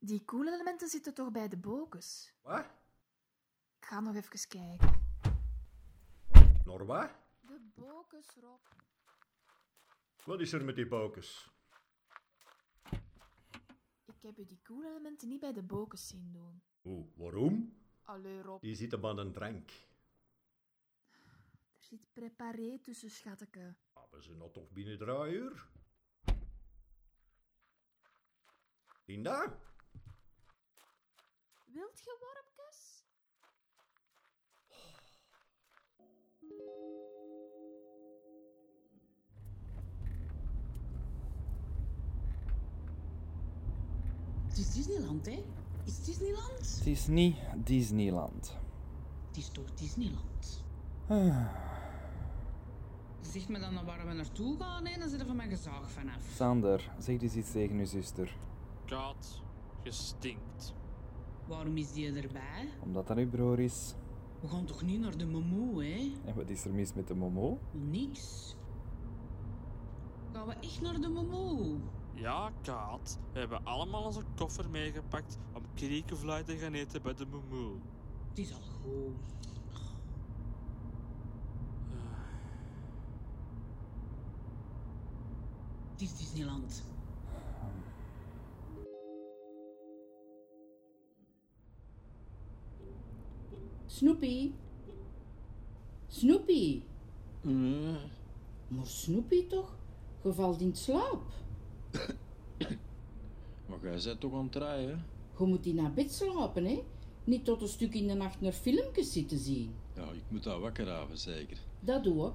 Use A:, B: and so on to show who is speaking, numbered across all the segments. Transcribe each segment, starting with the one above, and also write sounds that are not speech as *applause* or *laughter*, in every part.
A: Die koelelementen zitten toch bij de bokus?
B: Wat?
A: Ik ga nog even kijken.
B: Norwa?
A: De bokus, Rob.
B: Wat is er met die bokus?
A: Ik heb u die koelelementen niet bij de bokus zien doen.
B: Hoe, waarom?
A: Allee, Rob.
B: Die zitten bij een drank.
A: Er zit preparé tussen, schatteke.
B: Hebben ze nog toch binnen drie uur? Linda?
A: Wilt je wormpjes?
C: Het is Disneyland, hè? Is het Disneyland?
D: Het is niet Disneyland.
C: Het is toch Disneyland?
D: Ah.
C: Zeg me dan waar we naartoe gaan, hè? Dan zitten we van mijn gezag vanaf.
D: Sander, zeg eens iets tegen uw zuster.
E: Kaat, je stinkt.
C: Waarom is die erbij?
D: Omdat dat uw broer is.
C: We gaan toch niet naar de Momoe, hè?
D: En wat is er mis met de momo?
C: Niks. Gaan we echt naar de Momoe?
E: Ja, Kaat, we hebben allemaal onze koffer meegepakt om kriekenvlaai te gaan eten bij de Moemoe.
C: Het is al goed. Ah. Het is Disneyland. Snoopy. Snoopy. Mm, Maar Snoopy toch? Gevalt in slaap.
F: Maar jij bent toch aan het draaien? hè?
C: Je moet die naar bed slapen, hè? Niet tot een stuk in de nacht naar filmpjes zitten zien.
F: Ja, ik moet dat wakker houden, zeker.
C: Dat doe ik.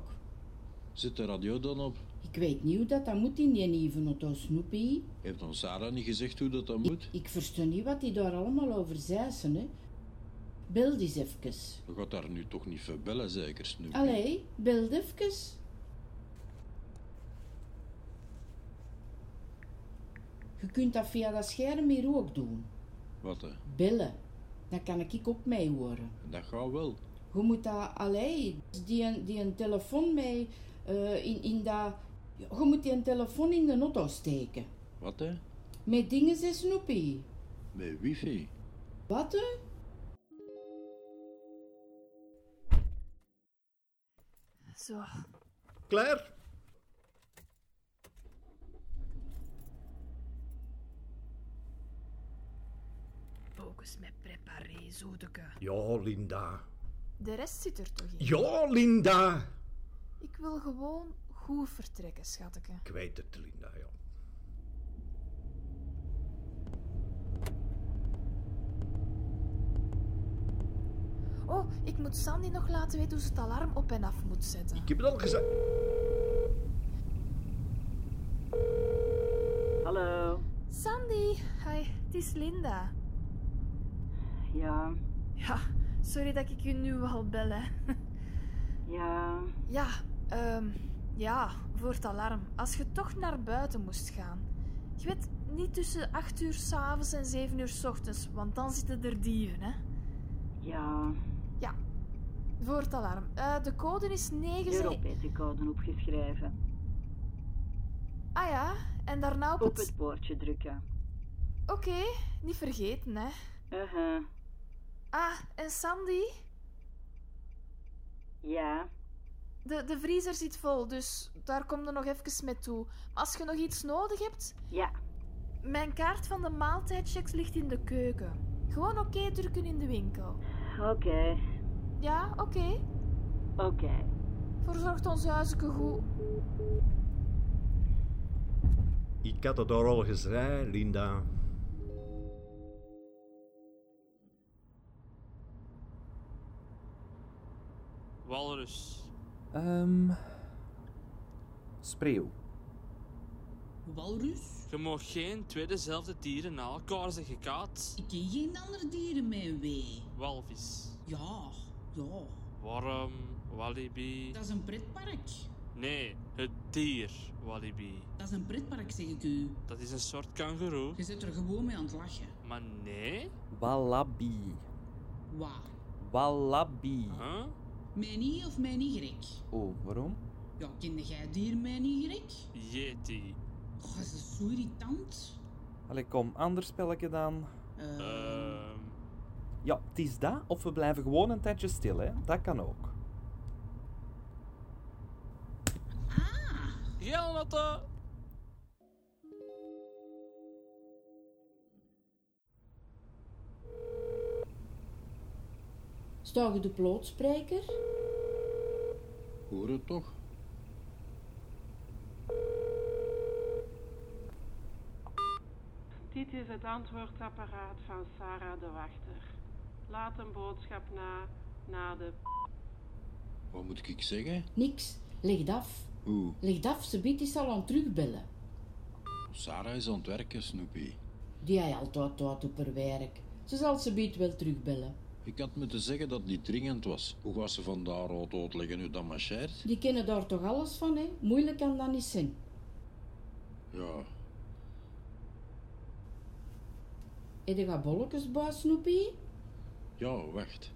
F: Zit de radio dan op?
C: Ik weet niet hoe dat, dat moet in die nieuwe auto, Snoopy.
F: Heeft ons Sarah niet gezegd hoe dat dan moet?
C: Ik versta niet wat die daar allemaal over zeisen, hè. Bel die eens even.
F: Je gaat daar nu toch niet voor bellen, zeker, Snoopy?
C: Allee, bel even. Je kunt dat via dat scherm hier ook doen.
F: Wat, hè?
C: Bellen. Dan kan ik ook mee horen.
F: Dat gaat wel.
C: Je moet dat, allee, die, een- die een telefoon mee, eh, in, in dat... Je moet die een telefoon in de auto steken.
F: Wat, hè?
C: Met dingen zijn Snoopy.
F: Met wifi.
C: Wat, hè?
A: Zo,
B: Claire?
A: bokus met preparé, zodeke.
B: Ja, Linda.
A: De rest zit er toch in?
B: Ja, Linda!
A: Ik wil gewoon goed vertrekken, schatteke.
B: Ik weet het, Linda, ja.
A: Oh, ik moet Sandy nog laten weten hoe ze het alarm op en af moet zetten.
B: Ik heb het al gezegd.
G: Hallo.
A: Sandy, hi, het is Linda.
G: Ja,
A: Ja, sorry dat ik je nu al bel, hè. *laughs*
G: ja.
A: Ja, ehm, ja, voor het alarm. Als je toch naar buiten moest gaan. Je weet, niet tussen 8 uur s'avonds en 7 uur s ochtends, want dan zitten er dieven, hè.
G: Ja,
A: Voor het alarm. Eh, de code is 9...
G: Europese code opgeschreven.
A: Ah ja, en daarna op
G: Op
A: het...
G: het woordje drukken.
A: Oké, niet vergeten, hè.
G: Uh-huh.
A: Ah, en Sandy?
G: Ja,
A: De, de vriezer zit vol, dus daar kom je nog even mee toe. Maar als je nog iets nodig hebt...
G: ja,
A: Mijn kaart van de maaltijdchecks ligt in de keuken. Gewoon oké drukken in de winkel.
G: oké,
A: Ja, oké.
G: oké.
A: Verzorgt ons huisje goed.
B: Ik had het daar al gezegd, Linda.
E: Walrus,
D: Ehm. spreeuw.
C: Walrus?
E: je mag geen twee dezelfde dieren na elkaar zeggen, Kaat.
C: Ik ken geen andere dieren met een W.
E: Walvis.
C: Ja, ja.
E: Worm, walibi.
C: Dat is een pretpark.
E: Nee, het dier walibi.
C: Dat is een pretpark, zeg ik u.
E: Dat is een soort kangoeroe.
C: Je zit er gewoon mee aan het lachen.
E: Maar nee?
D: Wallaby.
C: Waar?
D: Wallaby.
E: Huh?
C: Mijn I of mijn Y?
D: Oh, waarom?
C: Ja, kende jij dier mijn Y?
E: Yeti.
C: Oh, is dat zo irritant?
D: Allee, kom, ander spelletje dan.
E: Ehm
D: Ja, het is dat, of we blijven gewoon een tijdje stil, hè. Dat kan ook.
E: Jelnatte!
H: Staan je de plootspreker?
F: Hoor het toch?
I: Dit is het antwoordapparaat van Sarah de Wachter. Laat een boodschap na, na de...
F: Wat moet ik zeggen?
H: Niks. Leg het af.
F: Hoe?
H: Leg het af, ze biedt is al aan het terugbellen.
F: Sarah is aan het werken, Snoopy.
H: Die hij altijd doet op haar werk. Ze zal ze biedt wel terugbellen.
F: Ik had moeten zeggen dat het niet dringend was. Hoe was ze van daar uit uitleggen hoe dat marcheert?
H: Die kennen daar toch alles van, hè? Moeilijk kan dat niet zijn.
F: Ja,
H: Heb je gaat bolletjes bij, Snoepie?
F: ja, wacht.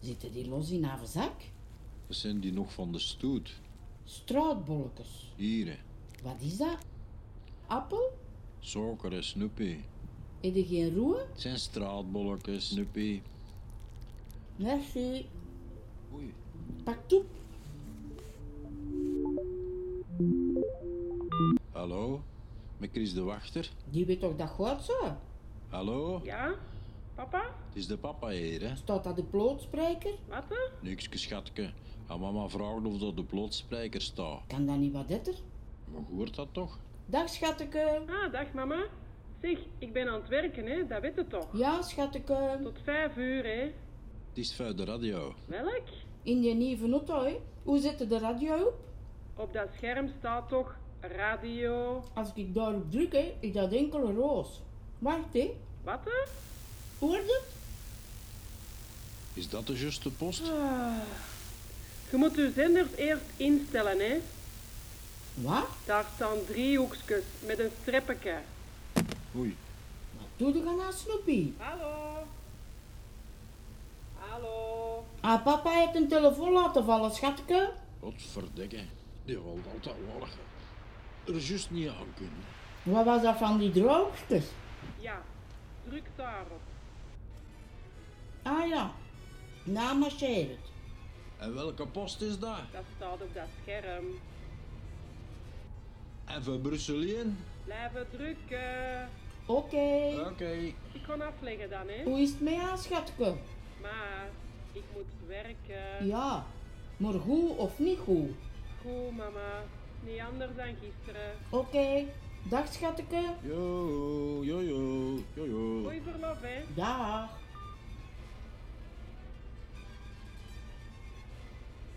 H: Zitten die los in haar zak?
F: Dat zijn die nog van de stoet.
H: Straatbolletjes.
F: Hier, hè.
H: Wat is dat? Appel?
F: Suiker, hè, Snoopy.
H: Heb je geen roer?
F: Het zijn straatbolletjes, Snoopy.
H: Merci.
F: Oei.
H: Pak op.
F: Hallo? Met Chris de Wachter?
H: Die weet toch dat goed zo?
F: Hallo?
I: Ja? Papa?
F: Het is de papa hier, hè?
H: Staat dat de plootspreker?
I: Wat? hè?
F: Niks, schatke. Aan mama vraagt of dat de plootspreker staat.
H: Kan dat niet wat ditter?
F: Maar je hoort dat toch?
H: Dag, schatteke.
I: Ah, dag mama. Zeg, ik ben aan het werken, hè? dat weet je toch?
H: Ja, schatteke.
I: Tot vijf uur, hè?
F: Het is via de radio.
I: Welk?
H: In die nieuwe auto, hè? Hoe zet je de radio op?
I: Op dat scherm staat toch radio...
H: Als ik daarop druk, hè, is dat enkel roos. Wacht, hè.
I: Wat? hè?
H: Hoor je? het?
F: Is dat de juiste post?
I: Ah. Je moet je zenders eerst instellen, hè?
H: Wat?
I: Daar staan driehoekjes met een streppetje.
F: Oei.
H: Doe de gaan aan Snoopy.
I: Hallo? Hallo?
H: Ah, papa heeft een telefoon laten vallen, schatke.
F: Wat verdekken. Die wil altijd warrig. Er is juist niet aan kunnen.
H: Wat was dat van die droogtes?
I: Ja, druk daarop.
H: Ah ja, nou marcheer het.
F: En welke post is dat?
I: Dat staat op dat scherm.
F: En van Brussel in?
I: Blijven drukken.
H: Oké,
F: Oké.
I: Ik kan afleggen dan, hè.
H: hoe is het mee aan, schatke?
I: Maar ik moet werken.
H: Ja, maar goed of niet goed?
I: Goed, mama. Niet anders dan gisteren.
H: Oké, dag schatke.
F: Yo, yo, yo, yo, yo.
I: Goeie verlof, hè.
H: Dag.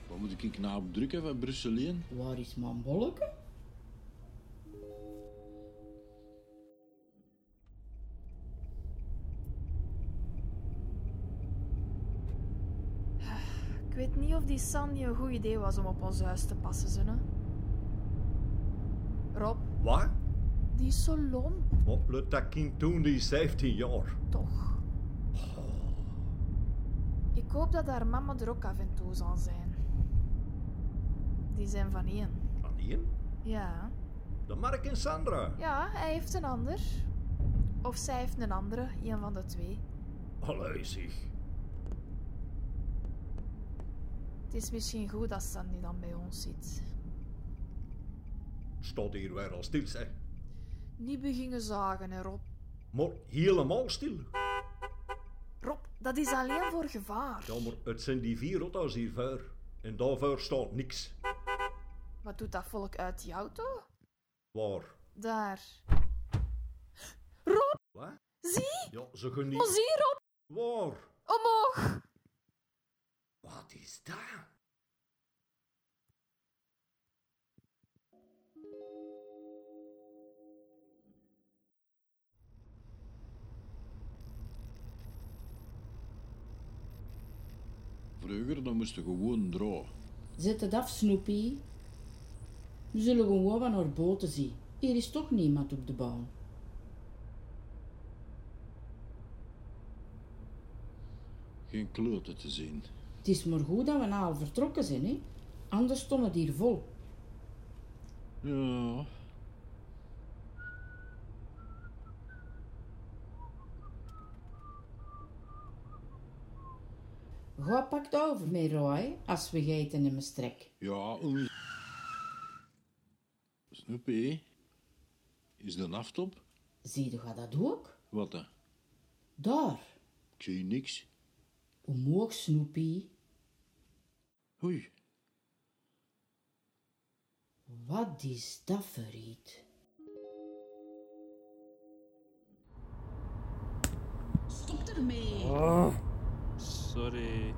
F: Wat moet ik nou op drukken van Brussel in?
H: Waar is mijn bolleke?
A: Ik weet niet of die Sandy een goed idee was om op ons huis te passen, zonne. Rob,
B: Wat?
A: die is zo lomp,
B: Wat let dat kind toen die 17 jaar?
A: toch? Ik hoop dat haar mama er ook af en toe zal zijn. Die zijn van één.
B: Van één?
A: Ja.
B: De Mark en Sandra.
A: Ja, hij heeft een ander. Of zij heeft een andere, een van de twee.
B: Allee zeg.
A: Het is misschien goed dat Sandy dan bij ons zit.
B: Staat hier weer al stil, zeg.
A: Niet beginnen zagen, hè, Rob.
B: Maar helemaal stil.
A: Rob, dat is alleen voor gevaar.
B: Ja, maar het zijn die vier auto's hier ver. En daarvoor staat niks.
A: Wat doet dat volk uit die auto?
B: Waar?
A: Daar.
B: Wat?
A: Zie!
B: Ja, ze genieten.
A: Oh, zie, Rob!
B: Waar?
A: Omhoog!
B: Wat is dat?
F: Vroeger dan moest je gewoon droog.
H: Zet het af, Snoopy. We zullen gewoon van haar boten zien. Hier is toch niemand op de baan.
F: Geen kloten te zien.
H: Het is maar goed dat we na al vertrokken zijn, hè? Anders stond het hier vol.
F: Ja.
H: Goh pakt over met Roy als we geten in mijn strek.
F: Ja, een... Snoepie, is de naft op?
H: Zie je gaat dat ook?
F: Wat dan?
H: Daar.
F: Ik zie niks.
H: Omhoog, Snoopy.
F: Oei,
H: Wat is dat voor iets?
C: Stop ermee.
D: Oh,
E: Sorry.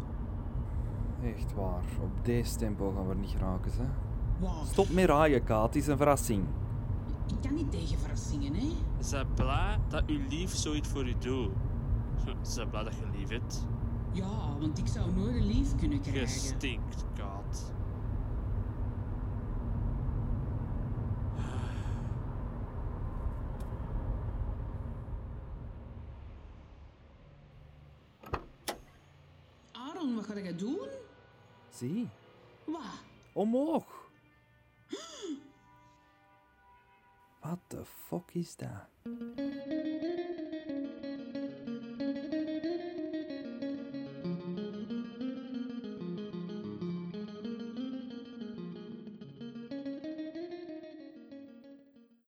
D: echt waar. Op deze tempo gaan we er niet raken, hè.
C: Waar?
D: Stop met raaien, Kaat. Het is een verrassing.
C: Ik kan niet tegen verrassingen, hè.
E: Is dat blij dat uw lief zoiets voor u doet? Is dat blij dat je lief hebt?
C: Ja, want ik zou nooit een lief kunnen
E: Je
C: krijgen.
E: stinkt, Kaat.
C: Aaron, wat ga je doen?
D: Zie,
C: Wat?
D: omhoog. *gasps* Wat de fuck is dat?